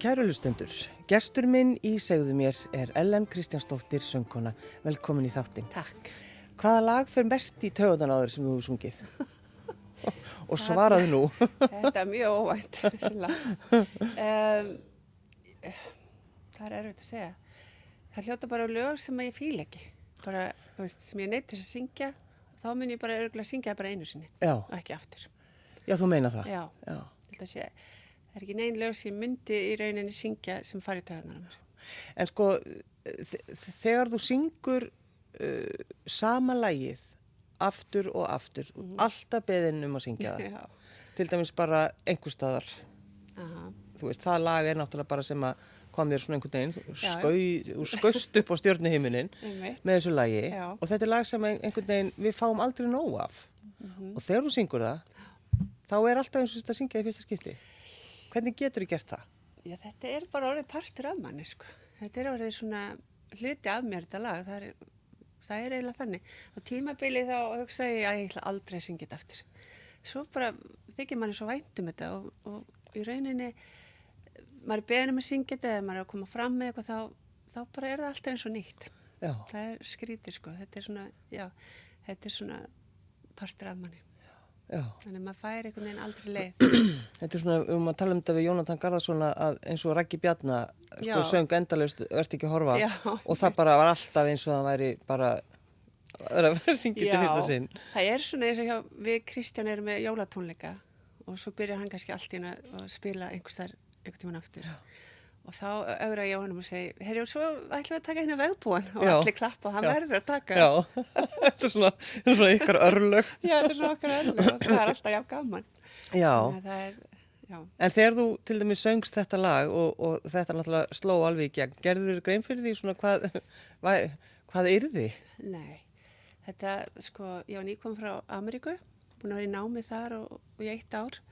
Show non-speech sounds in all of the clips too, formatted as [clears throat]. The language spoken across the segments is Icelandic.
kærulustendur. Gestur minn í segðu mér er Ellen Kristjánsdóttir söngkona. Velkomin í þáttinn. Takk. Hvaða lag fer mest í töðan á þér sem þú hefur sungið? [laughs] Og svaraðu nú. Þetta er mjög óvænt. um, það er erfitt að segja. Það hljóta bara á lög sem að ég fíl ekki. Bara, þú veist, sem ég neitt þess að syngja. Þá mun ég bara örgulega að syngja það bara einu sinni. Já. Og ekki aftur. Já, þú meina það. Já. Já. Þetta sé, það er ekki negin lög sem ég myndi í rauninni syngja sem fari í töðanar á mér. En sko, þ- þegar þú syngur uh, sama lagið aftur og aftur, alltaf beðin um að syngja það. Mhm. [laughs] Já. Til dæmis bara einhver staðar. Aha. Þú veist, það lag er náttúrulega bara sem að kom þér svona einhvern veginn, Já, já. skau- þú skaust upp á stjórnuhimmunin [laughs] Einmitt. með þessu lagi Já. og þetta er lag sem ein- einhvern veginn við fáum aldrei nóg af Mhm. og þegar þú syngur það þá er alltaf eins og þetta syngja í fyrsta skipti hvernig getur þú gert það? Já, þetta er bara orðið partur af manni, sko. Þetta er orðið svona hluti af mér þetta lag, það er, það er eiginlega þannig. Á tímabili þá hugsaði ég að ég ætla aldrei að syngja þetta aftur. Svo bara þykir manni svo vænt um þetta og, og í rauninni, maður er beðin um að syngja þetta eða maður er að koma fram með eitthvað, þá, þá bara er það alltaf eins og nýtt. Já. Það er skrítið, sko. Þetta er svona, já, þetta er svona partur af manni. Já. Þannig að maður fær einhvern veginn aldrei leið. Þetta er svona, við erum að tala um þetta við Jónatan Garðarsson að eins og Rækki Bjarna sko, Já. söng endalaust, ert ekki að horfa Já. og það bara var alltaf eins og það væri bara er að syngja þetta fyrsta sinn það er svona eins og hjá, við Kristján erum með jólatónleika og svo byrjar hann kannski allt í hann að spila einhvers þar einhvern tíman aftur. Og þá augra ég á hann og segi, herri og svo ætlum við að taka hérna vegbúan og Já. allir klappa og hann Já. verður að taka. Já, [laughs] þetta er svona, þetta er svona ykkar örlög Já, þetta er svona okkar öllum og það er alltaf jafn gaman. Já, Þannig að Það er, já. en þegar þú til dæmis söngst þetta lag og, og þetta náttúrulega sló alveg í gegn gerður þér grein fyrir því svona hvað [laughs] hvað, hvað yrði? Nei, þetta sko, ég var nýkom frá Ameríku, búin að vera í námi þar og, og í eitt ár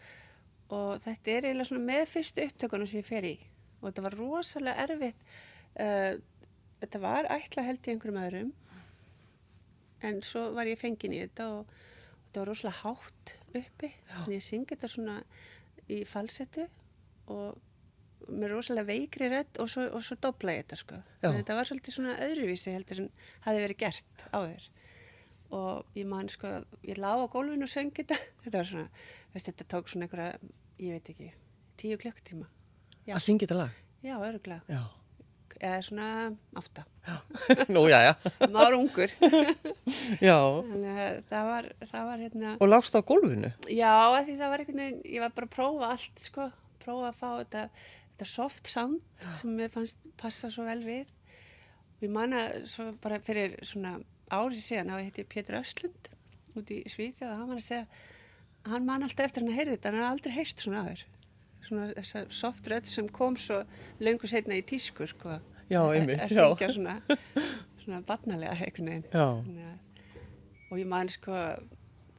og þetta er eiginlega svona með fyrstu upptökunum sem ég fer í og þetta var rosalega erfitt, uh, þetta var ætla held í einhverjum öðrum en svo var ég fengin í þetta og, og þetta var rosalega hátt uppi, þannig ég syngi þetta svona í falsettu og með rosalega veikri rödd og svo, og svo dobla ég þetta sko. Já. Þannig Þetta var svolítið svona öðruvísi heldur en hafi verið gert á þér. Og ég man sko, ég lá á gólfinu og söng þetta. [laughs] Þetta var svona, veist, þetta tók svona einhverja, ég veit ekki, tíu klukktíma. Já. Að syngja þetta lag? Já, öruglega. Já, Eða svona átta. já. [laughs] Nú, já, já Maður ungur. Já, Þannig að það var, það var hérna... og lagst á gólfinu Já, af því það var einhvern veginn, ég var bara að prófa allt, sko, prófa að fá þetta, þetta soft sound sem mér fannst passa svo vel við. Og ég man að svo bara fyrir svona árið síðan, þá hitti ég Pétur Östlund út í Svíþjóð og hann var að segja, hann man alltaf eftir hann að heyrði þetta, hann hafði aldrei heyrt svona aður. Svona þessa soft rödd sem kom svo löngu setna í tísku, sko. Já, Að- einmitt, að já. syngja svona, svona barnalega einhvern veginn. Já. Þannig að, og ég man sko,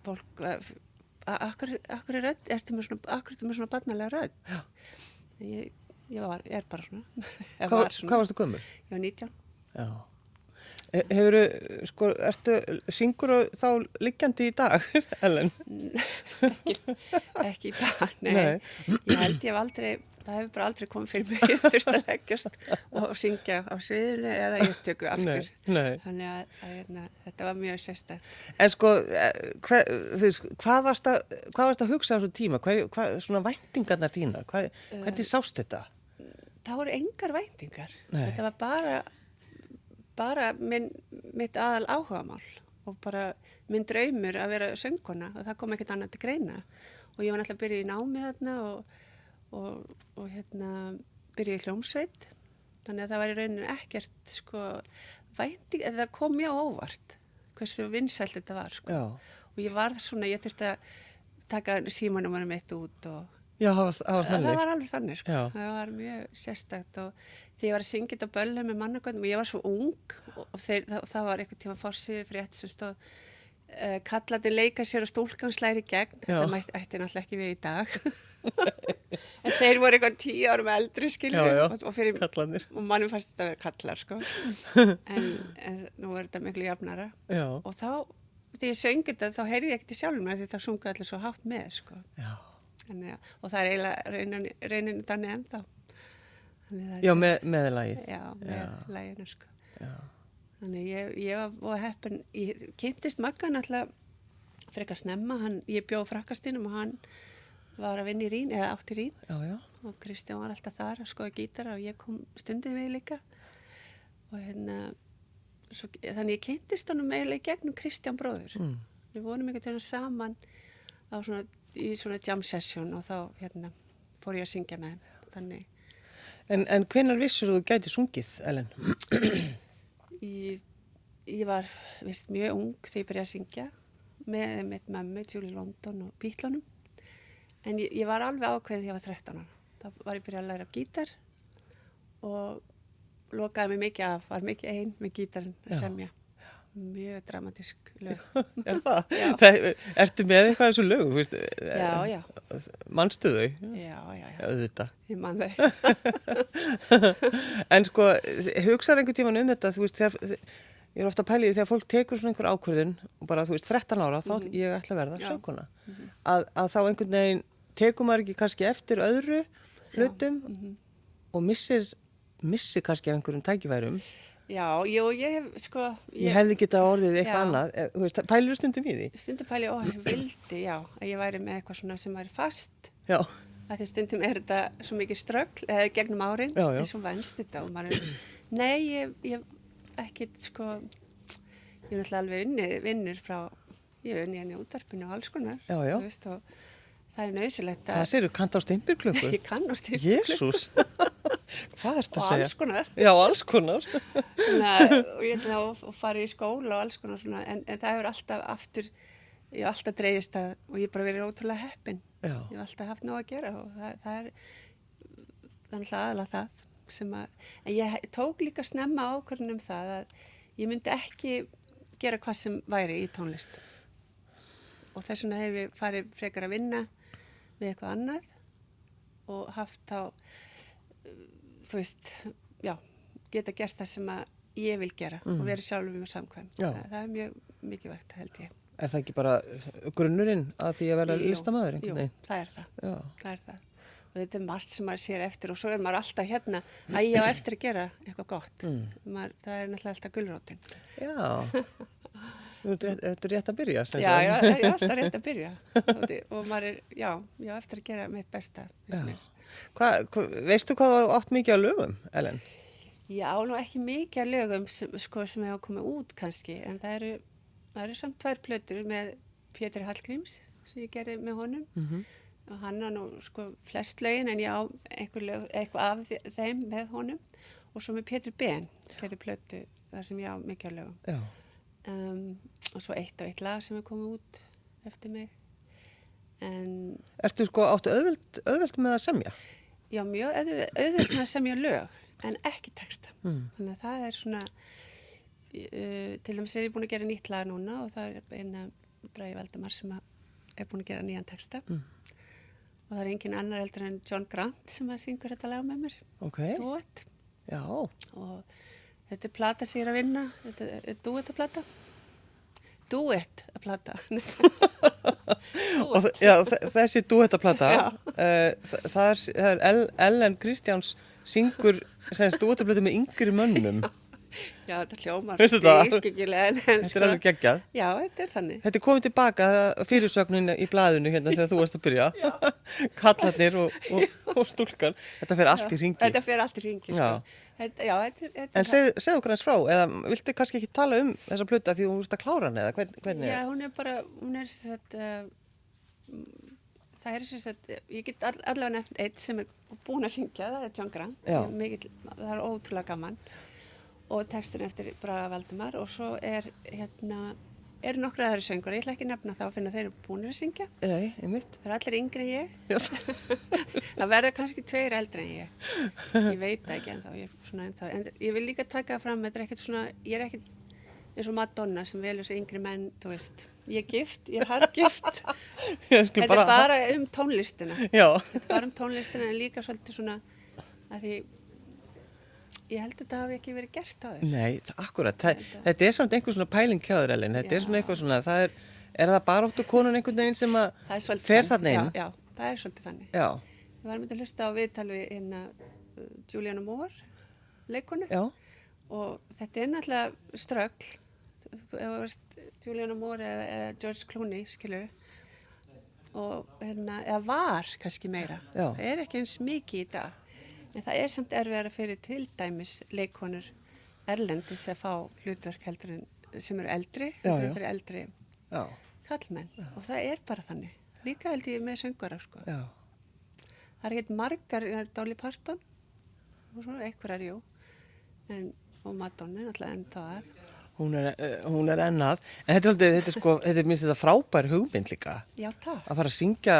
fólk, eh, að- að- akkur, akkur er rödd, ertu með svona, akkur ertu með svona barnalega rödd? Já. Ég, ég var, ég er bara svona, [laughs] ég Hvað, var svona, hvað varstu gömur? ég var 19. Já Hefur, sko, ertu, syngur þá liggjandi í dag, [laughs] Ellen? ekki í dag, [laughs] nei. Nei. Ég held ég hef aldrei, það hefur bara aldrei komið fyrir mig, [laughs] ég þurfti að leggjast og syngja á sviðinu eða í upptöku aftur. Nei, nei. Þannig að, að hérna, þetta var mjög sérstætt. En sko, eh, hve, þú veist, hvað, varst að, hvað varst að hugsa á þessu tíma? Hver, hvað, svona væntingarnar þínar, hvað, Eh. hvernig sást þetta? Það voru engar væntingar. Nei. Þetta var bara, bara minn, mitt aðal áhugamál og bara minn draumur að vera sönguna og það kom ekkert annað til greina. Og ég var náttúrulega að byrja í námi þarna og, og, og hérna, byrja í hljómsveit. Þannig að það var í rauninu ekkert sko, vænting, eða það kom mjög óvart hversu vinsælt þetta var. Sko. Já. Og ég var svona, ég þurfti að taka símanumarum mitt út og Já, það var, það var Það- þannig. Eh, Það var alveg þannig, sko. Já. Það var mjög sérstakt og því ég var að syngja þetta á böllum með mannagöndum og ég var svo ung og, og þeir, það, það var einhvern tíma fórsýði fyrir ett sem stóð uh, kallandi leika sér og stúlkan slæri í gegn. Já. Þetta mætti, ætti náttúrulega ekki við í dag. [laughs] en þeir voru eitthvað tíu árum eldri, skilur. Já, já. Og, og fyrir, Kallarnir. Og mannum fannst þetta að vera kallar, sko. en, en nú er þetta miklu jafnara. Já. Og þá, því ég söngi þetta, þá heyrði ég ekkert í sjálfum mér því það sungu allir svo hátt með, sko. Já. Þannig, að- og það er eiginlega raunin, raunin þannig ennþá Þannig það er- Já, með, með lagið. Já, með læginu sko. Já. Þannig ég, ég var og heppin, ég kynntist Magga náttúrulega frekar snemma, hann, ég bjóð frakkastinum og hann var að vinna í Rín, eða átti Rín Já, já. og Kristján var alltaf þar að skoða gítara og ég kom stundum við líka og hérna svo, þannig ég kynntist honum eiginlega í gegnum Kristján bróður Mm. við vorum einhvern veginn saman á svona, í svona jam session og þá hérna fór ég að syngja með þeim þannig En, en hvenar vissur þú gæti sungið, [laughs] Ellen? ég, ég var vist, mjög ung þegar ég byrjaði að syngja með mitt mömmu, Julie London og Bítlunum en ég, ég var alveg ákveðin þegar ég var 13 ára. þá var ég byrjað að læra á gítar og lokaði mig mikið af var mikið ein með gítarinn að Já. semja mjög dramatísk [laughs] lög Er það? það? Ertu með eitthvað af þessu lögu, veist? já, já, Manstu þau? já, já, já. Auðvitað. ég man þau [laughs] en sko, hugsaðu einhvern tíman um þetta, þú veist, þegar, ég er ofta að pæli því þegar fólk tekur svona einhver ákvörðun og bara, þú veist, 13 ára, þá ég ætla að verða Mhm. Já. Mhm. sönguna. að, að þá einhvern veginn tekur maður ekki kannski eftir öðru hlutum Mhm. og missir, missir kannski af einhverjum tækifærum. já, jú, ég hef sko Ég hefði getað orðið eitthvað Já. annað, eh, þú veist, pælur stundum í því. stundum pæli og ég vildi, já, að ég væri með eitthvað svona sem væri fast Já, að því stundum er þetta svo mikið ströggl eða gegnum árin Já, já. eins og venst þetta og maður er, nei, ég, ég ekki, sko ég er náttúrulega alveg unni, vinnur frá ég er unni henni útvarpinu og alls konar Já, já. þú veist, og það er nöðsilegt það séru, kanta á steimpirklöku. [laughs] ég kannast til Jésús, [laughs] hvað ert og að segja? alls konar Já, alls konar. [laughs] [laughs] Þannig að- og ég ætla að fara í skóla og alls konar svona, en, en það hefur alltaf aftur, ég hef alltaf dreigist að og ég hef bara verið ótrúlega heppin Já. ég hef alltaf haft nóg að gera og það, það er þannig aðalega það sem að, en ég he- tók líka snemma ákvörðin um það að ég myndi ekki gera hvað sem væri í tónlist og þess vegna hef ég farið frekar að vinna við eitthvað annað og haft þá uh, þú veist, já geta gert það sem að ég vil gera og verið sjálfum og samkvæm Mhm. Já. það, það er mjög mikilvægt held ég Er það ekki bara grunnurinn að því að vera Jú, listamæður jú, einhvern veginn? það er það Já. það er það og þetta er margt sem maður sér eftir og svo er maður alltaf hérna að ég á eftir að gera eitthvað gott Mm. maður, það er náttúrulega alltaf gulrótin Já. [laughs] Þú ert rétt, þetta er rétt að byrja, sem já, sagt. já, ég er alltaf rétt að byrja og þi- og maður er, já, ég á eftir að gera mitt besta [laughs] Já. já. Hva, hva, veistu hvað þú átt mikið á lögum, Ellen? ég á nú ekki mikið af lögum sem, sko, sem hefa komið út kannski en það eru, það eru samt tvær plötur með Pétur Hallgríms sem ég gerði með honum og hann á nú sko flest lögin en ég á einhver lög, eitthvað af þe- þeim með honum og svo með Pétur Ben gerði plötu þar sem ég á mikið af lögum Já. um, og svo eitt og eitt lag sem er komið út eftir mig en Ertu sko áttu auðvelt, auðvelt með að semja? já mjög auðv- auðvöld með að semja lög en ekki texta þannig að það er svona uh, til dæmis er ég búin að gera nýtt lag núna og það er eina Bræði Valdemar sem að er búin að gera nýjan texta Mm. og það er engin annar heldur en John Grant sem að syngur þetta lag með mér Ok. duett Já. og þetta er plata sem ég er að vinna þetta er duett að plata duett að plata [laughs] Og þ- já, þ- þessi [laughs] duettaplata, uh, það, það er, það er El- Ellen Kristjáns syngur sem duettaplata með yngri mönnum. já þetta hljómar Veistu það? stískikilega en- en Þetta sko- er alveg geggjað. já þetta er þannig Þetta er komið tilbaka það- fyrirsögnin í blaðinu hérna þegar þú varst að byrja. [laughs] Kallarnir og, og, og stúlkan. Þetta fer allt í ringi. Þetta fer allt í ringi, sko. Já. Þetta, já, þetta, er- þetta En segð, segð okkur hans frá, eða viltu kannski ekki tala um þessa plöta því hún veist að klára hann eða hvern, hvernig? Já, hún er bara, hún er sem sagt, uh, það er sem sagt, ég get all, allavega nefnt eitt sem er búin að syngja, það er John Grant. Já. Ég er Mikill, það er ótrúlega gaman. Og textin eftir Braga Valdemar og svo er, hérna, eru nokkru aðri söngur, ég ætla ekki að nefna þá að finna þeir eru búin að syngja. Nei, einmitt. [laughs] Það er allir yngri en ég. Já. [laughs] það verða kannski tveir eldri en ég. Ég veit það ekki ennþá, ég, er svona ennþá. En ég vil líka taka fram, þetta er ekkert svona, ég er ekkert eins og Madonna sem velur sér yngri menn, þú veist. Ég er gift, ég er [laughs] hargift. Ég þetta skal bara... er bara um tónlistina. [laughs] Já, Þetta er bara um tónlistina en líka svolítið svona, að því ég held að þetta hafi ekki verið gert á þér. nei, það- akkurat. Það, þetta er samt einhver svona pæling kjáður, Elin. Þetta Já. er svona eitthvað svona, það er, er það bara óttu konun einhvern veginn sem að Það er svolítið fer þarna inn? Já, já, það er svolítið þannig. Já. Við varum myndið að hlusta á viðtal við hérna uh, Juliana Moore, leikonu já, og þetta er náttúrulega ströggl þú hefur verið Juliana Moore eða, eða George Clooney skilur og hérna, eða var kannski meira Já. það er ekki eins mikið í dag en það er samt erfiðara fyrir til dæmis leikonur erlendis að fá hlutverk heldur en sem eru eldri, Já, heldur já. en fyrir eldri já, kallmenn og það er bara þannig líka held ég með söngara sko já, það er ekkert margar, það er Dolly Parton og svona einhverjar, jú en, og Madonna náttúrulega en það er hún er, uh, hún er ennað. En þetta er, aldrei, þetta er sko, þetta er minnst þetta frábær hugmynd líka. Já, það. Að fara að syngja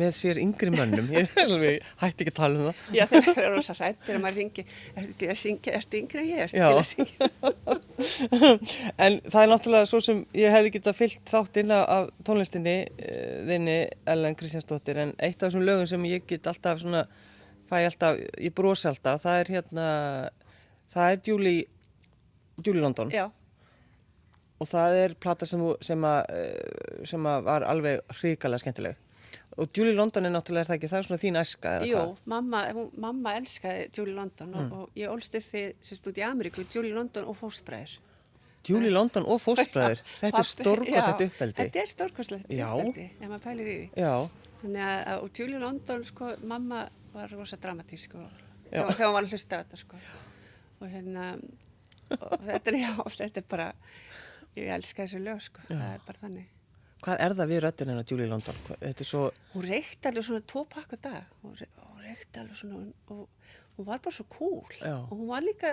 með sér yngri mönnum, ég [laughs] er alveg hætti ekki að tala um það. [laughs] Já, [laughs] þeir eru rosa hrættir að maður ringi, ertu til að syngja, ertu yngri en ég, ertu Já. til að [laughs] syngja. en það er náttúrulega svo sem ég hefði getað fyllt þáttinn af- af tónlistinni eh, þinni Ellen Kristjánsdóttir en eitt af þessum lögum sem ég get alltaf svona fæ alltaf, ég brosi alltaf það er hérna það er Julie Julie London Já, og það er plata sem, þú- sem, að, eh, sem að var alveg hrikalega skemmtileg og Julie London er náttúrulega er það ekki, það er svona þín æska eða jú, hvað? mamma, hún, mamma elskaði Julie London og, Mm. og ég ólst upp við, sérst út í Ameríku, Julie London og fóstbræður. Julie London og [laughs] fóstbræður, þetta er Pabbi- stórkvæmt já, uppeldi Þetta er stórkostlegt Já. uppeldi, ef maður pælir í því. já, Þannig að, að- og Julie London, sko, mamma var rosa dramatísk og Já. þegar hún var að hlusta á þetta, sko. Og hérna, og þetta er, já, þetta er bara, ég elska þessu lög, sko, það er bara þannig. hvað er það við röddinn hennar Julie London, Hvað- þetta er svo hún reykti alveg svona tvo pakka á dag hún, re- hún reykti alveg svona og hún var bara svo cool Já. og hún var líka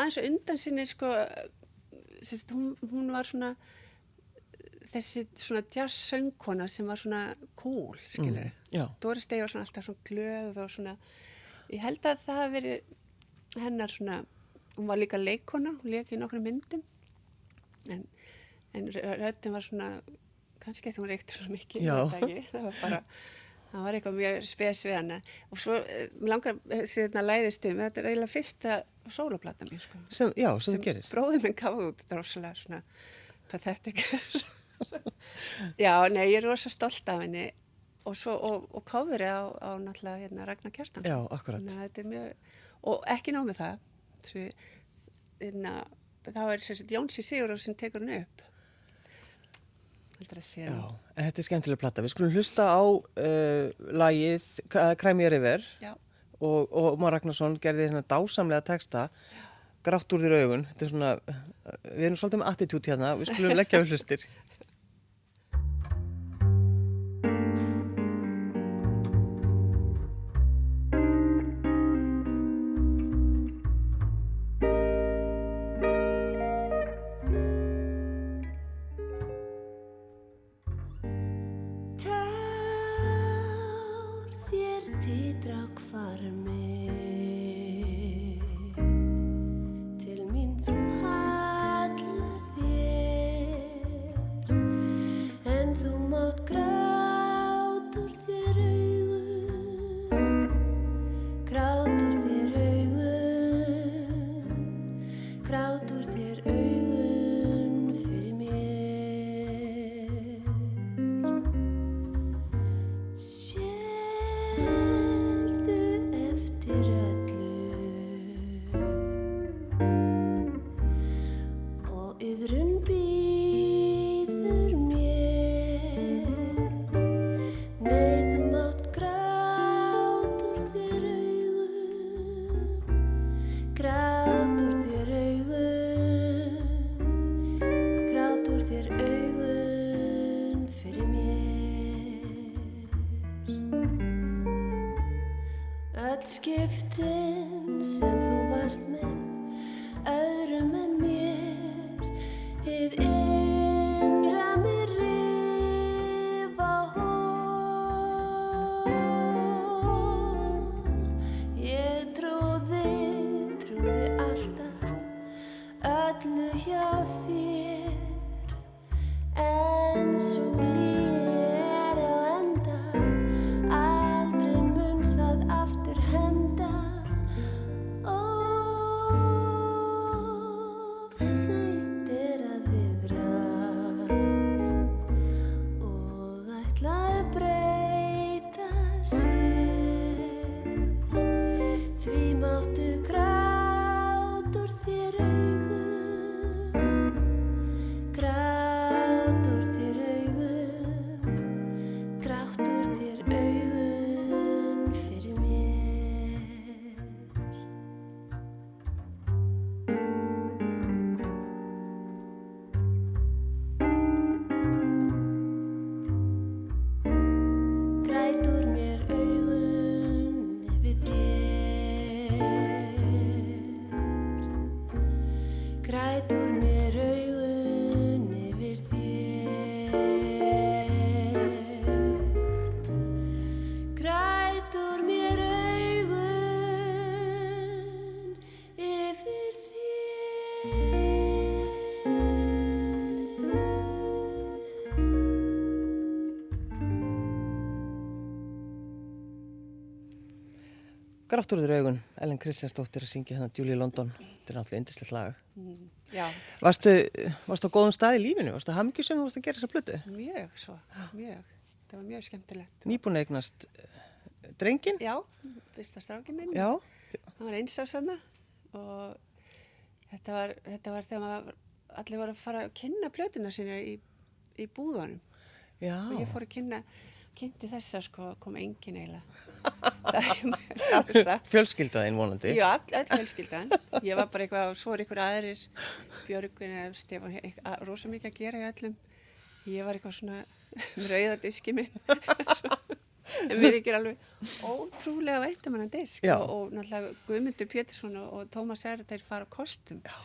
aðeins á undan sinni sko, sérst, hún, hún var svona þessi svona jazz söngkona sem var svona cool skilur Mhm, já. Doris Day var svona alltaf svona glöð og svona ég held að það hafi verið hennar svona hún var líka leikona, hún leik í nokkrum myndum en, en röddum var svona kannski þegar hún reykti svo mikið Já. ég veit það ekki. [laughs] það var bara það var eitthvað mjög spes við hana og svo, eh, mér langar síðan að læðist um þetta er eiginlega fyrsta sóloplata mér sko sem, já, sem, þú gerir bróðið minn gaf út þetta er rosalega svona pathetic [laughs] já, nei, ég er rosa stolt af henni og svo, og, og kofrið á, á náttúrulega hérna Ragnar Kjartan Já, akkurat. Þannig að þetta er mjög, og ekki nóg með það svo, hérna, þá er sem sagt Jónsi Sigurður sem tekur henni upp heldur að segja já, nú. en þetta er skemmtileg platta við skulum hlusta á uh, lagið Kræmja River já, og, og Ómar Ragnarsson gerði hérna dásamlega texta grátt úr þér augun þetta er svona, eh, við erum svolítið með attitút hérna við skulum leggja við [laughs] hlustir Tár þér titra hvarmi Til mín þú hallar þér En þú mátt grátur þér augun Grátur þér augun Grátur þér augun fyrir mér Sérðu eftir öllu og yðrun býður mér Nei, þú mátt grát úr þér augun Grát úr þér augun grát úr þér augun fyrir mér Öll skiptin sem þú varst með öðrum en mér Hið innra mér rif á hól Ég trúði, trúði alltaf öllu hjá þér en svo lér á enda aldrei mun það aftur henda Ó, Grátturður augun, Ellen Kristjánsdóttir að syngja hérna Julie London, þetta er náttúrulega indislegt lag. Já, Varstu, varstu á góðum stað í lífinu, varstu hamngjusum, varstu að gera þessa blötu? mjög svo, mjög. Það var mjög skemmtilegt. Nýbúin að eignast eh, drenginn? Já, fyrsta stráki minn. Já. Hann var eins á sanna og þetta var, þetta var þegar maður, allir voru að fara að kynna plötunar sinni í, í búðunum. Já. Og ég fór að kynna, kynnti þessa sko, kom engin eiginlega. [laughs] það er alveg satt. Fjölskyldaðinn vonandi. Já, all, all fjölskyldan. Ég var bara eitthvað, svo er ykkur aðrir, Björgun eða Stefán, eit- að- rosa mikið að gera í öllum. Ég var eitthvað svona með rauða diski [laughs] minn. en við ekki alveg ótrúlega vænt um hann disk. Já. Og, og náttúrulega Guðmundur Pétursson og, og Tómas er þeir fara á kostum. Já.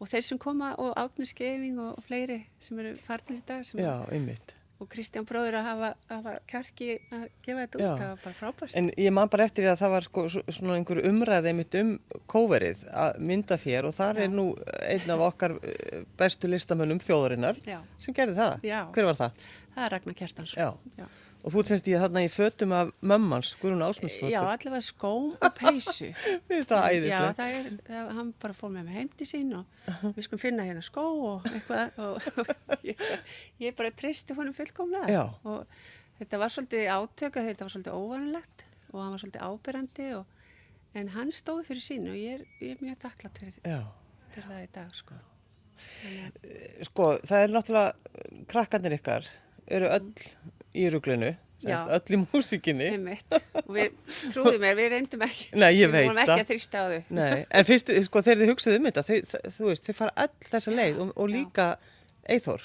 Og þeir sem koma og Átnur Skeving og, og fleiri sem eru farnir í dag sem Já, einmitt. og Kristján bróður að hafa, hafa kjarki að gefa þetta út, Já. það var bara frábært. En ég man bara eftir því að það var sko, svo- svona einhver umræðið mitt um kóverið að mynda þér og þar er nú einn af okkar eh, bestu listamönnum þjóðarinnar Já. sem gerði það. Já. Hver var það? Það er Ragnar Kjartansson. Já. Já. Og þú ert semst í þarna í fötum af mömmans, Guðrún Eh, Já, Ásmundsdóttur. allavega skóm og peysu. Mér finnst [laughs] það Já, æðislegt. það er, það, hann bara fór með mig heim til sín og við skulum finna hérna skó og eitthvað [laughs] og ég, ég bara treysti honum fullkomlega. Já. Og þetta var svolítið átök að þetta var svolítið óvanulegt og hann var svolítið ábyrrandi og en hann stóð fyrir sín og ég er, ég er mjög þakklátt fyrir, Já. fyrir það í dag, sko. Sko, það er náttúrulega, eh, krakkarnir ykkar eru öll í ruglunu, semst Mm. Já. öll í músikinni. Einmitt. Og við trúðum mér, við reyndum ekki. Eh? Nei, ég veit Við vorum ekki það. að þrýsta á þau. Nei, en fyrst, sko, þegar þið hugsaðu um þetta, þið, þ- þú veist, þið fara öll þessa leið og, og líka Eithor.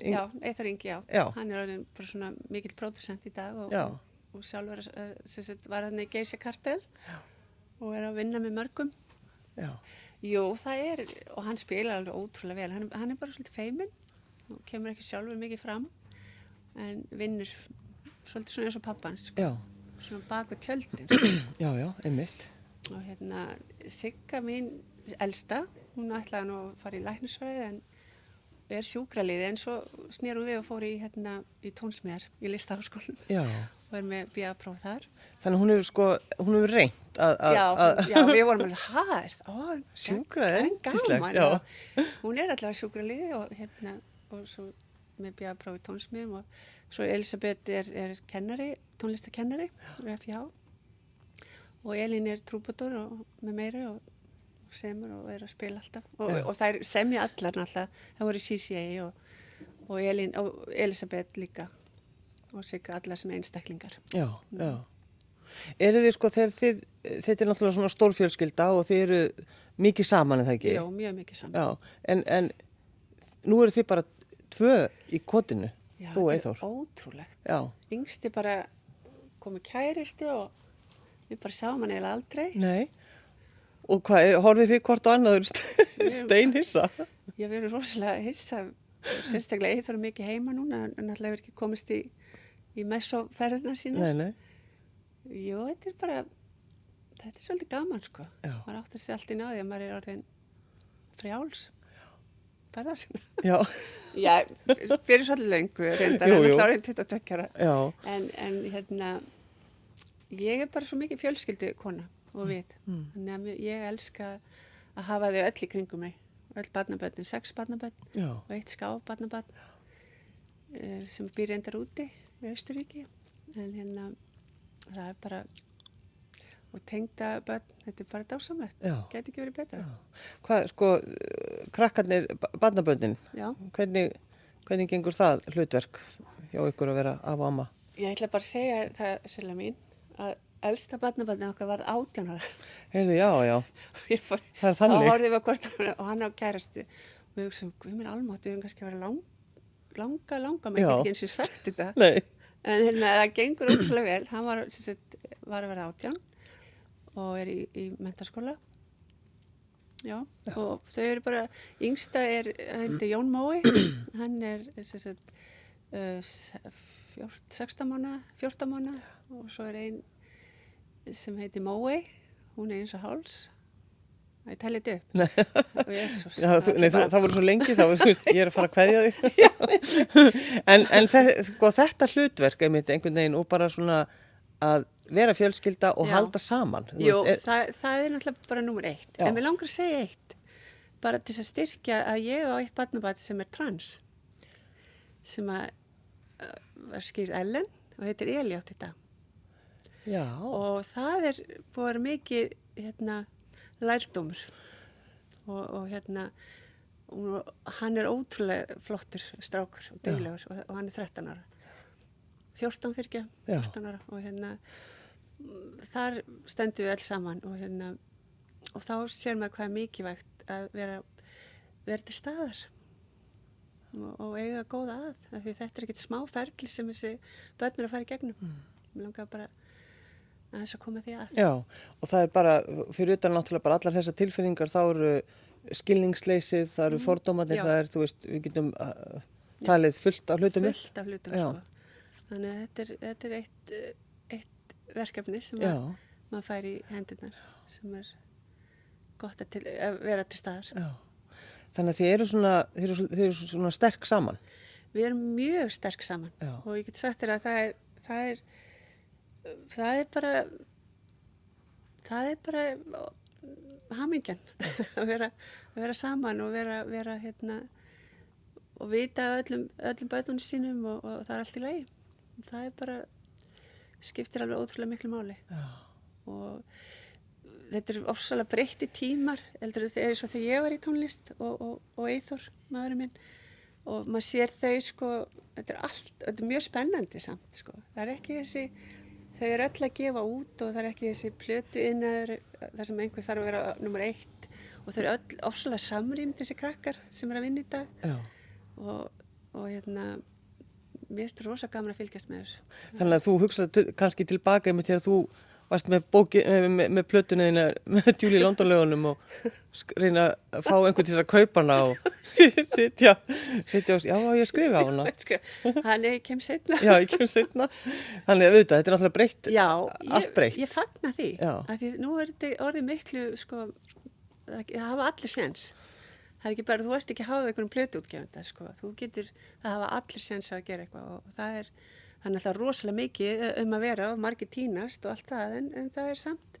Yng- Já, Eithar Ingi, já. Já. Hann er orðin bara svona mikill pródusent í dag og, Já. og, og sjálfur eh, sem sagt, var hann í Geisha Kartel og er að vinna með mörgum. Já. Jú, það er, og hann spilar alveg ótrúlega vel. Hann, hann er bara svolítið feiminn og kemur ekki sjálfur mikið fram en vinnur svolítið svona eins og pappans, Já, [clears throat] svona bak við tjöldin. sko. já, já, einmitt. og hérna, Sigga mín elsta, hún ætlaði nú að fara í læknisfræði en er sjúkraliði en svo snýrum við og fór í, hérna, í tónsmiðar í listaháskólanum Já. og er með bíapróf þar. Þannig að hún hefur sko, hún hefur reynt að... að- Já, að- hún- já, við vorum alveg hæð, ó, Sjúkra, gaman, yndislegt, gaman, já. og Hún er allavega sjúkraliði og hérna, og svo með bíapróf í tónsmiðum og svo Elisabeth er, er kennari, tónlistakennari, úr FH og Elin er trúbútur og með meira og, og semur og er að spila alltaf og, Já. og þær semja allar náttúrulega, það voru í CCA og, og, Elin, og Elisabeth líka og sigga allar sem einstaklingar. [laughs] Já, já. Eru þið sko, þegar þið, þetta er náttúrulega svona stórfjölskylda og þið eru mikið saman en það ekki? Jó, mjög mikið saman. Já, en, en nú eru þið bara tvö í kotinu, Já, þú og þetta Eithor. er ótrúlegt. Já, yngsti bara komið kæristi og við bara sáum hann eiginlega aldrei. nei. Og hvað, horfið þið hvort á annaður Við- steinhissa? Ég hef verið rosalega hissa, sérstaklega ég þarf mikið heima núna en náttúrulega hefur ekki komist í, í messoferðina sína. Nei, nei. Jú, þetta er bara, þetta er svolítið gaman sko. Já. Maður áttar sér allt í náði að maður er orðin frjáls. Ferða sinna. Já, [laughs] Já, fyrir svolítið löngu reyndar, Jú, jú. hann er klárið 22 ára. já, En, en hérna, ég er bara svo mikið fjölskyldu kona og við. Þannig að mér- ég elska að hafa þau öll í kringum mig. Öll barnabötnin, sex barnabötn já. og eitt ská barnabötn sem býr endar úti í Austuríki. En hérna, það er bara, og tengda börn, þetta er bara dásamlegt. Já. Gæti ekki verið betra. Hvað, sko, eh, krakkarnir, barnaböndin, Já. hvernig, hvernig gengur það hlutverk hjá ykkur að vera af og amma? Ég ætla bara að segja það, Silla mín, að elsta barnabötnin okkar varð átjánara. Heyrðu, já, já, [laughs] Ég fór, Það er þannig. Þá horfðum við að hvort hann- og hann á kærastu og við hugsaum, við minn almátt, við erum kannski að vera lang, langa, langa, maður Já. getur ekki eins og sagt þetta. nei, En hérna, það gengur ótrúlega vel, hann var, sem sagt, var að vera átján og er í, í mentarskóla. Já, og þau eru bara, yngsta er, hann heitir Jón Mói, hann er, sem sagt, uh, se- fjórt, 16 mánuða, 14 mánuða og svo er ein sem heitir Mói, hún er eins og háls. Það er talið upp. nei, Og Jesús, já, þú, nei þú, bara- það voru svo lengi, það voru, þú veist, ég er að fara að kveðja [laughs] þig. en en þe sko, þetta hlutverk, einmitt, einhvern veginn og bara svona að vera fjölskylda og Já. halda saman þú Jú, veist, er, það, það er náttúrulega bara númur eitt. Já. En mér langar að segja eitt, bara til þess að styrkja að ég á eitt barnabæti sem er trans, sem að uh, var skýrð Ellen og heitir Eljátt þetta. e-, já, Og það er búið að vera mikið hérna, lærdómur og, og hérna, og hann er ótrúlega flottur strákur og duglegur og, og hann er 13 ára. 14 fyrir ekki, Já. 14 ára og hérna mm, þar stöndum við öll saman og hérna og þá sér maður hvað er mikilvægt að vera, vera til staðar og, og eiga góða að af því þetta er ekkert smá ferli sem þessi börn er að fara í gegnum mér langar bara að þess að koma því að Mm. já og það er bara, fyrir utan náttúrulega bara allar þessar tilfinningar, þá eru skilningsleysið, það eru fordómanir Mhm. Já. það er, þú veist, við getum uh, talið fullt af hlutum upp. fullt af hlutum Já. sko. þannig að þetta er, þetta er eitt, eh, eitt verkefni sem Já. að, maður fær í hendunar sem er gott að, til, að vera til staðar Já. Þannig að þið eru svona, þið eru, þið eru svona sterk saman. Við erum mjög sterk saman Já. og ég get sagt þér að það er, það er, það er bara, það er bara hamingjan [laughs] að vera, að vera saman og vera, vera hérna og vita af öllum, öllum bötunum sínum og, og það er allt í lagi. Það er bara, skiptir alveg ótrúlega miklu máli Já. og þetta eru ofsalega breytti tímar heldur þetta er svo þegar ég var í tónlist og, og, og Eithor, maðurinn minn og maður sér þau sko þetta er allt, þetta er mjög spennandi samt sko, það er ekki þessi þau eru öll að gefa út og það er ekki þessi plötu innaður þar sem einhver þarf að vera nummer eitt og þau eru öll ofsalega samrýmd þessi krakkar sem eru að vinna í dag Já. og, og hérna mér finnst rosa gaman að fylgjast með þessu Þannig að þú hugsaði til- kannski tilbaka með þegar þú varst með, bóki, eh, með, með plötunuðina með Julie London lögunum og sk- reyna að fá einhvern til þess að kaupa hana og [laughs] sitja, sitja og s- já, á ég skrifa á hana. [laughs] Sko, hann er, ég kem setna Já, ég kem setna. Þannig að auðvitað, þetta er náttúrulega breytt, Já, allt breytt. ég, ég fagna því Já. af því nú er þetta orðið miklu sko, það það hafa allir séns það er ekki bara, þú ert ekki háðið einhvern plötu útgefenda, sko, þú getur það hafa allir séns að gera eitthvað og það er þannig að það er rosalega mikið um að vera og margir tínast og allt það en, en það er samt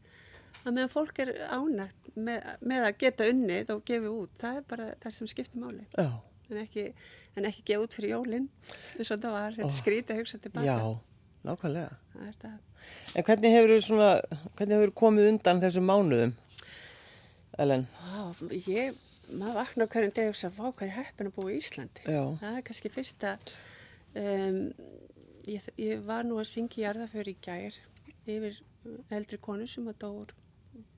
að meðan fólk er ánægt með, með að geta unnið og gefið út, það er bara það sem skiptir máli Já, en ekki, en ekki gefa út fyrir jólin eins og það var, þetta oh. skrýta hugsa tilbaka já, nákvæmlega. það er það En hvernig hefur þú svona, hvernig hefur komið undan þessum mánuðum, Ellen? Vá, ég, maður vaknar á hverjum deg og sagði, vá, hvað er heppin að búa í Íslandi? Já. Það er kannski fyrsta, um, ég, ég var nú að syngja í jarðaför í gær yfir eldri konu sem að dóur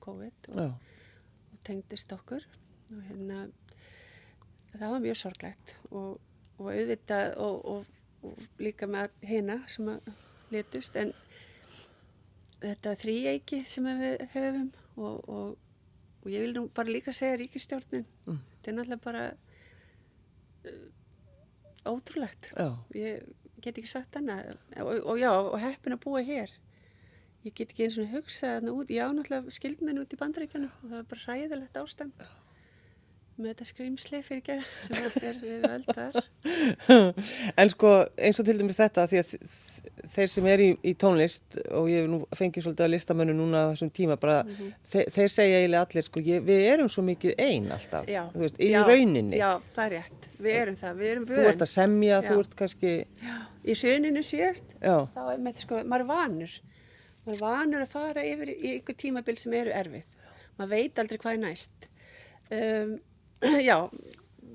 COVID og, Já, og tengdist okkur og hérna, það var mjög sorglegt og, og auðvitað og, og, og líka með hina sem að letust en þetta þrýeiki sem að við höfum og, og, og ég vil nú bara líka segja ríkistjórnin þetta er náttúrulega bara uh, ótrúlegt já, ég get ekki sagt annað og, og já, og heppin að búa hér ég get ekki eins og hugsa þarna út, já náttúrulega skildmenn út í bandaríkjunum og það er bara hræðilegt ástand með þetta skrýmsli fyrir ekki sem að er við öldar [laughs] en sko eins og til dæmis þetta því að þ- þeir sem er í, í tónlist og ég hef nú fengið svolítið að listamönu núna á þessum tíma bara Mhm. þeir, þeir segja eiginlega allir sko ég, við erum svo mikið ein alltaf já, þú veist, í já, rauninni já, það er rétt, við erum það, við erum þú ert að semja, Já. þú ert kannski Já, í hruninu síðast Já. þá er með sko, maður er vanur maður er vanur að fara yfir í ykkur tímabil sem eru erfið maður veit aldrei hvað er næst um, [clears throat] já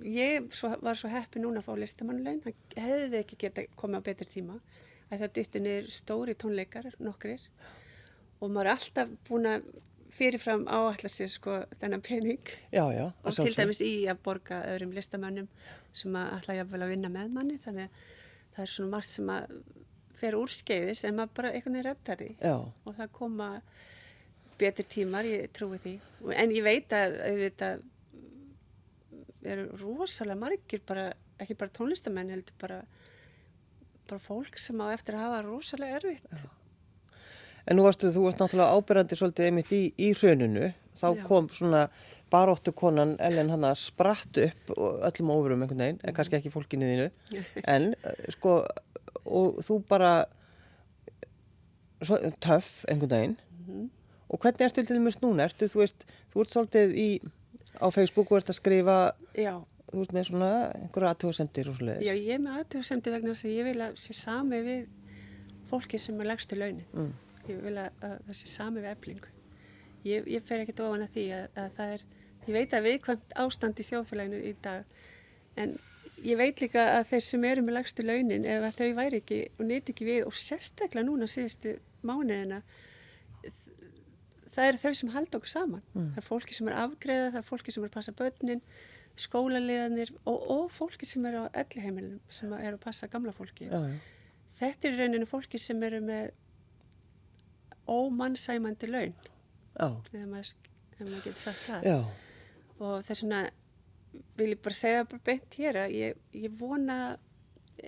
ég svo, var svo heppi núna að fá listamannulegn það hefði ekki geta komið á betri tíma að það dytti niður stóri tónleikar nokkrir og maður er alltaf búin að fyrirfram áallar sér sko þennan pening já, já, að og til sjálfsögðu. dæmis í að borga öðrum listamönnum sem að ætla jafnvel að vinna með manni þannig að það er svona margt sem að fer úr skeiðis en maður bara einhvern veginn reddar því já, og það koma betri tímar, ég trúi því Og- en ég veit að þetta eru rosalega margir bara, ekki bara tónlistamenn heldur bara, bara fólk sem á eftir að hafa rosalega erfitt en nú varstu, þú varst náttúrulega ábyrjandi svolítið einmitt í, í hruninu þá Já. kom svona baróttu konan Ellen hann að spratt upp og öllum óverum einhvern veginn, Mhm. en kannski ekki fólkinu þínu [laughs] en eh, sko og þú bara svo töff einhvern daginn Mhm. og hvernig ertu til dæmis núna? Ertu, þú veist, þú ert svolítið í, á Facebook og ert að skrifa, Já, þú ert með svona einhverja aðtöðsendir og svoleiðis. já ég er með aðtöðsemdi vegna þess að ég vil að sé sami við fólki sem er legstu launin. Ég vil að, að það sé sami við eflingu. Ég, ég fer ekkert ofan að því að, að það er, ég veit að viðkvæmt ástand í þjóðfélaginu í dag, en ég veit líka að þeir sem eru með legstu launin, ef að þau væri ekki og nýti ekki við og sérstaklega núna síðustu mánuðina, það eru þau sem halda okkur saman. Mm. Það er fólki sem er afgreða, það er fólki sem er að passa börnin, skólaliðanir og, og fólki sem er á elliheimilum sem er að passa gamla fólki. Já, já. Þetta er í rauninu fólki sem eru með ómannsæmandi laun, Já, ef maður, ef maður getur sagt það. já, Og þess vegna vil ég bara segja bara beint hér að ég, ég vona,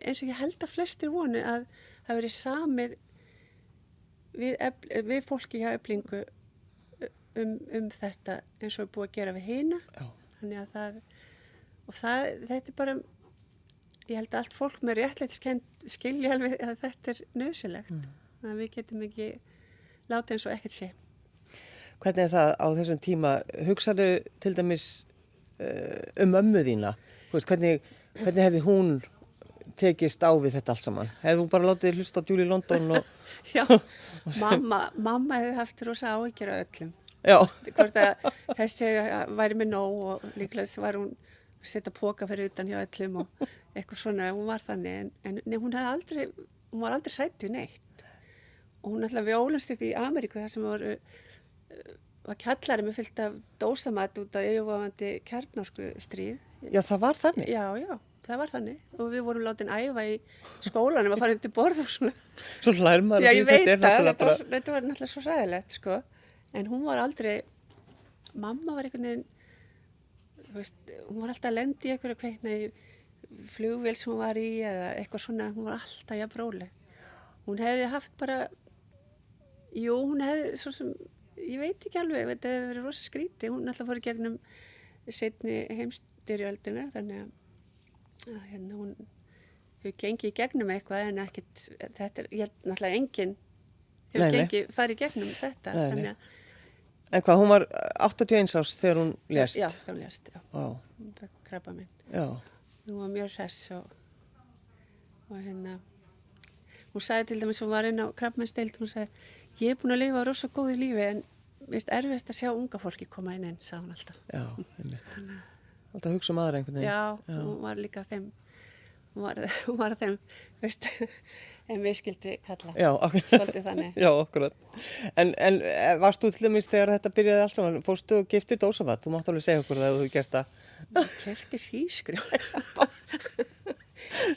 eins og ég held að flestir vonu að það veri samið við, efl, við fólki hjá öflingu um, um þetta eins og er búið að gera við hina. já. Þannig að það, og það, þetta er bara, ég held að allt fólk með réttleitt skilja alveg að þetta er nöðsilegt. Þannig að við getum ekki látið eins og ekkert sé. Hvernig er það á þessum tíma? Hugsaðu til dæmis uh, um ömmu þína? Þú Veist, hvernig, hvernig hefði hún tekist á við þetta allt saman? Hefði hún bara látið þig hlusta á Julie London [laughs] og... Já, mamma, mamma hefði haft rosa áhyggjur af öllum. Já, Hvort að þessi væri með nóg og líklega var hún að setja póka fyrir utan hjá öllum og eitthvað svona, hún var þannig. En, en nei, hún, hafði aldrei, hún var aldrei hrætt við neitt. og hún ætlaði að ólast upp í Ameríku þar sem voru, uh, var kjallari með fyllt af dósamat út af yfirvofandi kjarnarsku stríð. já, það var þannig. Já, já, það var þannig og við vorum látin æfa í skólanum að fara undir borð og svona. Svo hlær maður Já, að ég því veit það, náttúrulega þetta, bara... þetta var náttúrulega svo sæðilegt, sko. En hún var aldrei, mamma var einhvern veginn, þú veist, hún var alltaf að lenda í einhverju kveitna í flugvél sem hún var í eða eitthvað svona, hún var alltaf jafn róleg. Hún hefði haft bara, jú, hún hefði, svo sem, ég veit ekki alveg, þetta hefði verið rosa skríti, hún alltaf fór í gegnum setni heimstyrjöldina, þannig að að hérna hún hefur gengið í gegnum eitthvað en ekkert, þetta er, ég held náttúrulega enginn hefur Nei, nei. gengið, farið í gegnum þetta, Nei, nei. þannig að, En hvað, hún var eh, 81 árs þegar hún lést? já, þá lést, já, Vá, hún fekk krabba minn, já, hún var mjög hress og, og hérna, hún sagði til dæmis, hún var inn á krabbmennsteild, hún sagði, ég er búin að lifa rosa góðu lífi en, mér finnst erfiðast að sjá unga fólki koma inn inn, sagði hún alltaf. já, einmitt. Alltaf að hugsa um aðra einhvern veginn. Já, hún var líka þeim, hún var, [laughs] hún var þeim, [laughs] veist, en við skildi kalla. Já, ok. Svolítið þannig. [laughs] Já, okkurat. En, en eh, varst þú til dæmis þegar þetta byrjaði allt saman, fórstu og gifti dósamat? Þú mátt alveg segja okkur það ef þú hefur gert það. Kæfti hrísgrjón.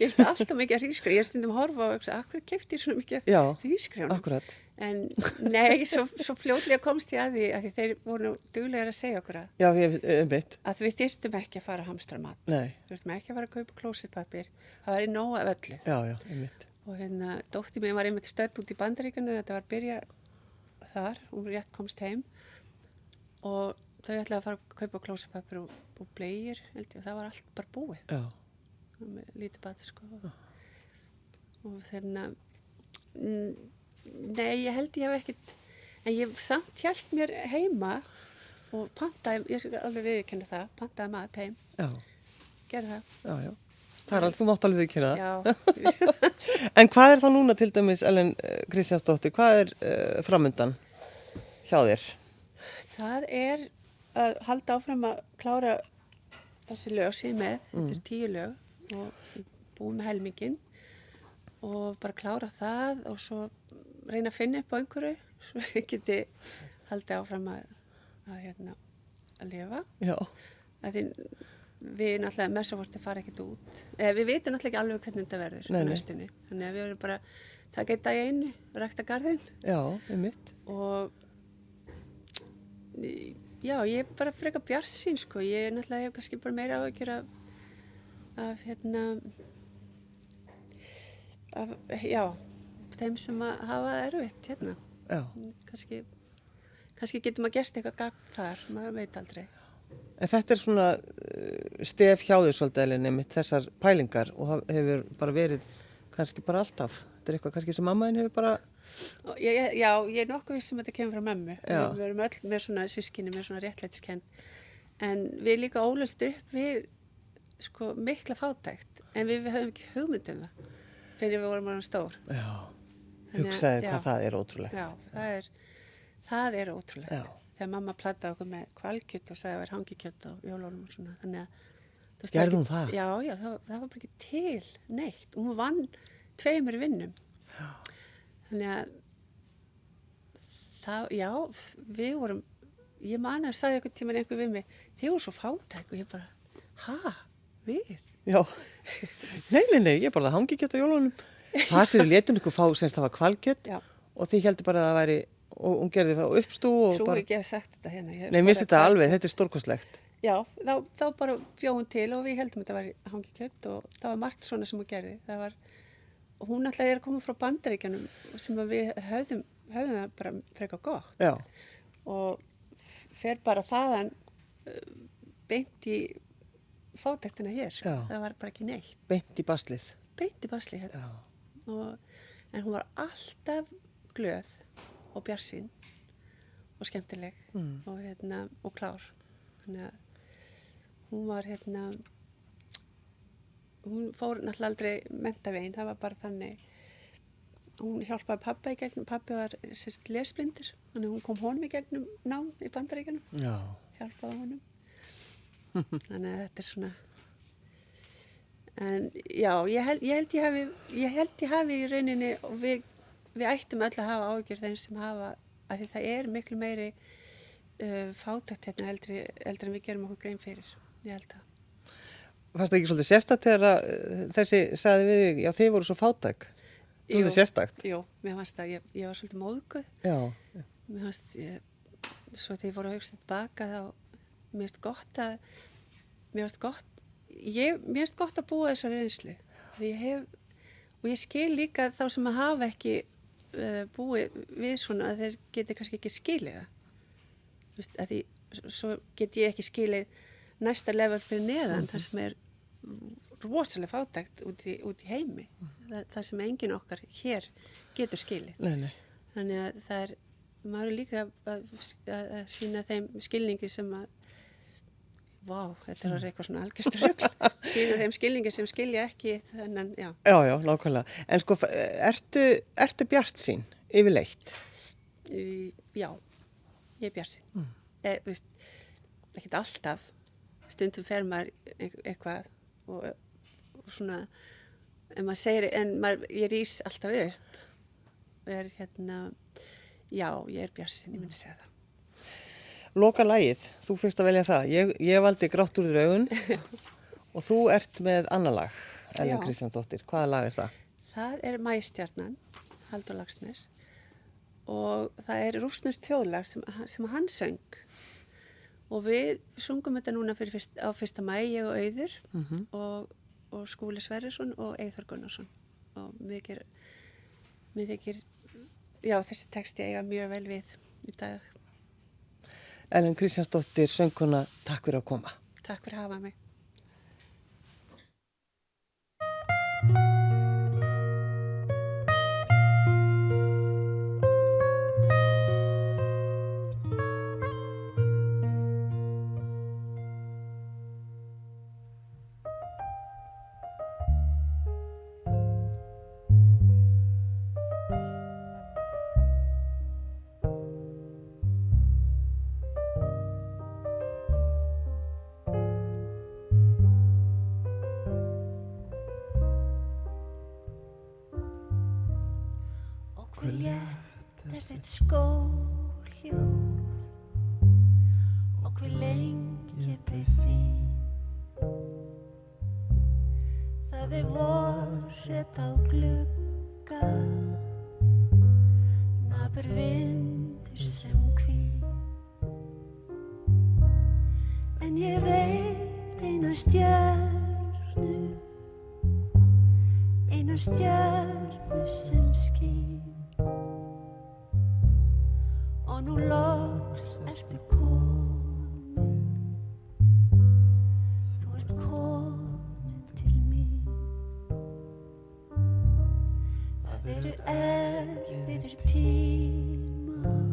Kæfti alltaf mikið hrísgrjón. Ég er stundum að horfa og hugsa, akkur kæfti ég svona mikið Já, hrísgrjón? akkurat. En nei, svo, svo fljótlega komst ég að því að því þeir voru nú duglegar að segja okkur að- Já, ég er mitt. að við þyrstum ekki að fara að hamstra mat. Nei, Þyrstum ekki að fara að kaupa klósitpapir. Það var í nóga öllu. já, já, ég mitt. Og hérna, dótti mér var einmitt stödd út í bandaríkanu, þetta var að byrja þar, hún rétt komst heim og þau ætlaði að fara að kaupa klósipapir og, og bleir, held ég, og það var allt bara búið. Já, og með lítið bati sko og þarna mm, nei, ég held ég hef ekkit en ég samt hjælt mér heima og pantaði, ég skal alveg viðkynna það pantaði mat heim, já, gerði það já, já. Það er allt, þú mátt alveg viðkynna það. já, En hvað er þá núna til dæmis, Ellen eh, Kristjánsdóttir, hvað er uh, framundan hjá þér? það er að halda áfram að klára þessi lög sem ég er með, Mm. þetta er tíu lög og búið með helmingin og bara klára það og svo reyna að finna upp á einhverju svo [laughs] ég geti haldið áfram að, að, hérna, að lifa Já, að því við náttúrulega messavorti fara ekkert út eða við vitum náttúrulega ekki alveg hvernig þetta verður Nei, á nei. næstunni, þannig að við erum bara að taka einn dag í einu, rækta garðinn já, ég mitt. og í- já, ég er bara frekar bjart sín sko, ég er náttúrulega, ég hef kannski bara meira áhyggjur af, af hérna af, já þeim sem að hafa það erfitt hérna Já, kannski, kannski getum að gert eitthvað gagn þar, maður veit aldrei en þetta er svona uh, stef hjá þér svolítið, Ellen, einmitt þessar pælingar og haf- hefur bara verið kannski bara alltaf. Þetta er eitthvað kannski sem mammaðin hefur bara, Og Ég, ég, já, ég er nokkuð vissum að þetta kemur frá mömmu. Já. Við, við erum öll með svona sískinni, með svona réttlætiskend. En við líka ólust upp við sko, mikla fátækt. En við, við höfum ekki hugmyndum það fyrir við vorum orðin stór. já, Þannig að- hugsaði já. hvað það er ótrúlegt. Já, það er, það er ótrúlegt. Já. Þegar mamma plattaði okkur með kvalkjött og sagði að það var hangikjött og jólónum og svona. Þannig að... þú veist, Gerði ekki- hún það? Já, já, það, var- það var bara ekki til neitt. Hún vann tveimur vinnum. Þannig að það, já, við vorum, ég man að sagði einhvern tíman einhver við mig, þið voru svo fátæk og ég bara, ha, við? Já, [laughs] nei, nei, nei, ég borða hangikjött á jólunum. Það sem við letum ykkur fá, semst það var kvalkjött Já. og þið heldur bara að það væri, og hún gerði það á uppstú og Trúi bara, ekki að hafa sagt þetta hérna. Ég nei, bara- mér finnst þetta alveg, þetta er stórkostlegt. Já, þá, þá bara bjóð hún til og við heldum að þetta var hangi kjött og það var margt svona sem hún gerði. Það var, og hún alltaf er að koma frá bandaríkjanum sem að við höfðum, höfðum það bara frekar gott Já, og f- fer bara þaðan uh, beint í fátæktina hér. sko. Já. Það var bara ekki neitt. beint í baslið. Beint í basli hérna. Já, Og, en hún var alltaf glöð og bjarsinn og skemmtileg og, hérna, og klár. Þannig að hún var hérna, hún fór náttúrulega aldrei mentavegin, það var bara þannig. Hún hjálpaði pappa í gegnum, pappi var sérst lesblindur, þannig að hún kom honum í gegnum nám í bandaríkjunum já, hjálpaði honum [laughs] þannig að þetta er svona en já ég held ég, held ég hafi ég held ég hafi í rauninni og við, við ættum öll að hafa áhyggjur þeim sem hafa að því það er miklu meiri uh, fátækt hérna eldri, eldri en við gerum okkur grein fyrir ég held að fannst það ekki svolítið sérstakt þegar að, eh, þessi sagði við þig, já, þið voru svo fátæk. Svolítið Jú, sérstakt. Jú, mér fannst það, ég, ég var svolítið móðguð Já, mér fannst ég, svo þegar ég voru að hugsa tilbaka þá mér finnst gott að mér finnst gott ég, mér finnst gott að búa þessu reynslu því ég hef og ég skil líka þá sem að hafa ekki uh, búið við svona að þeir geti kannski ekki skilið það Þú veist, að því s- svo get ég ekki skilið næsta level fyrir neðan þar sem er rosalega fátækt út í, út í heimi það, það sem engin okkar hér getur skilið nei, nei, Þannig að það er, maður er líka að, að, að sína þeim skilningi sem að, vá, þetta er orðið eitthvað svona algjörstu rugl, sína þeim skilningi sem skilja ekki þennan, já, já, já, nákvæmlega. En sko, f- ertu, ertu bjart sín yfirleitt? í, já, ég er bjarsin. Mm. E, þú veist, ekkert alltaf, stundum fer maður eit- eitthvað og, og svona, en maður segir, en maður, ég rýs alltaf upp, og er hérna, já, ég er bjarsin, ég myndi segja það. Loka lagið, þú fyrst að velja það. Ég, ég valdi grátt úr draugun [laughs] og þú ert með annar lag, Ellen Já. Kristjánsdóttir. Hvaða lag er það? Það er Mæstjarnan, Haldur Lagsnes og það er rúsnest þjóðlag sem, sem hann söng og við sungum þetta núna fyrir fyrst, á fyrsta mæ, ég og Auður og, og Skúli Sverrisson og Eithor Gunnarsson og mér þykir, mér þykir já þessi texti eiga mjög vel við í dag, Ellen Kristjánsdóttir, sönguna, takk fyrir að koma. takk fyrir að hafa mig Og hví létt er þitt skóljóð Og hví lengi byð þín Það er vorrið á glugga Nabur vindur sem hví En ég veit eina stjörnu Eina stjörnu sem skýr Og nú loks ertu komin Þú ert komin til mín Það er erfiðir tímar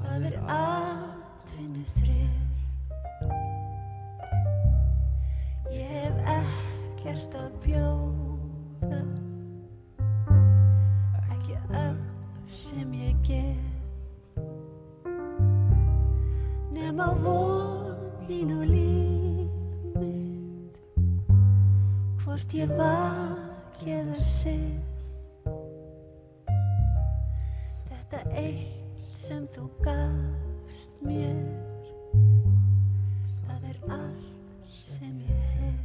Það er atvinni þref Ég hef ekkert að bjóða Ekki öll sem ég get Nema vonin og líf mitt Hvort ég vaki eða sig Þetta eitt sem þú gafst mér Það er allt sem ég hef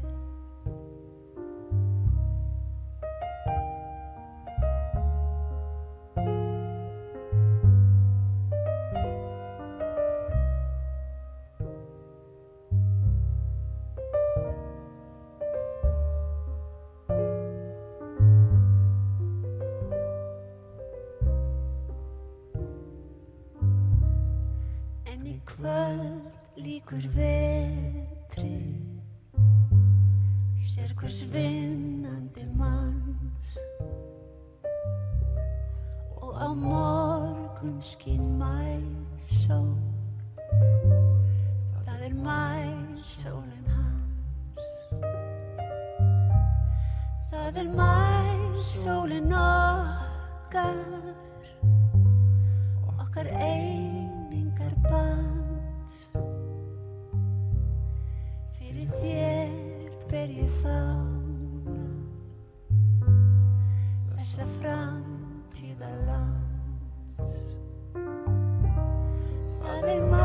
En í kvöld líkur vetri Sér hvers vinnandi manns Og á morgun skín mæsól Það er mæsólin hans Það er mæsólin okkar okkar einingar band fyrir þér ber ég fána þessa framtíðar lands það er maður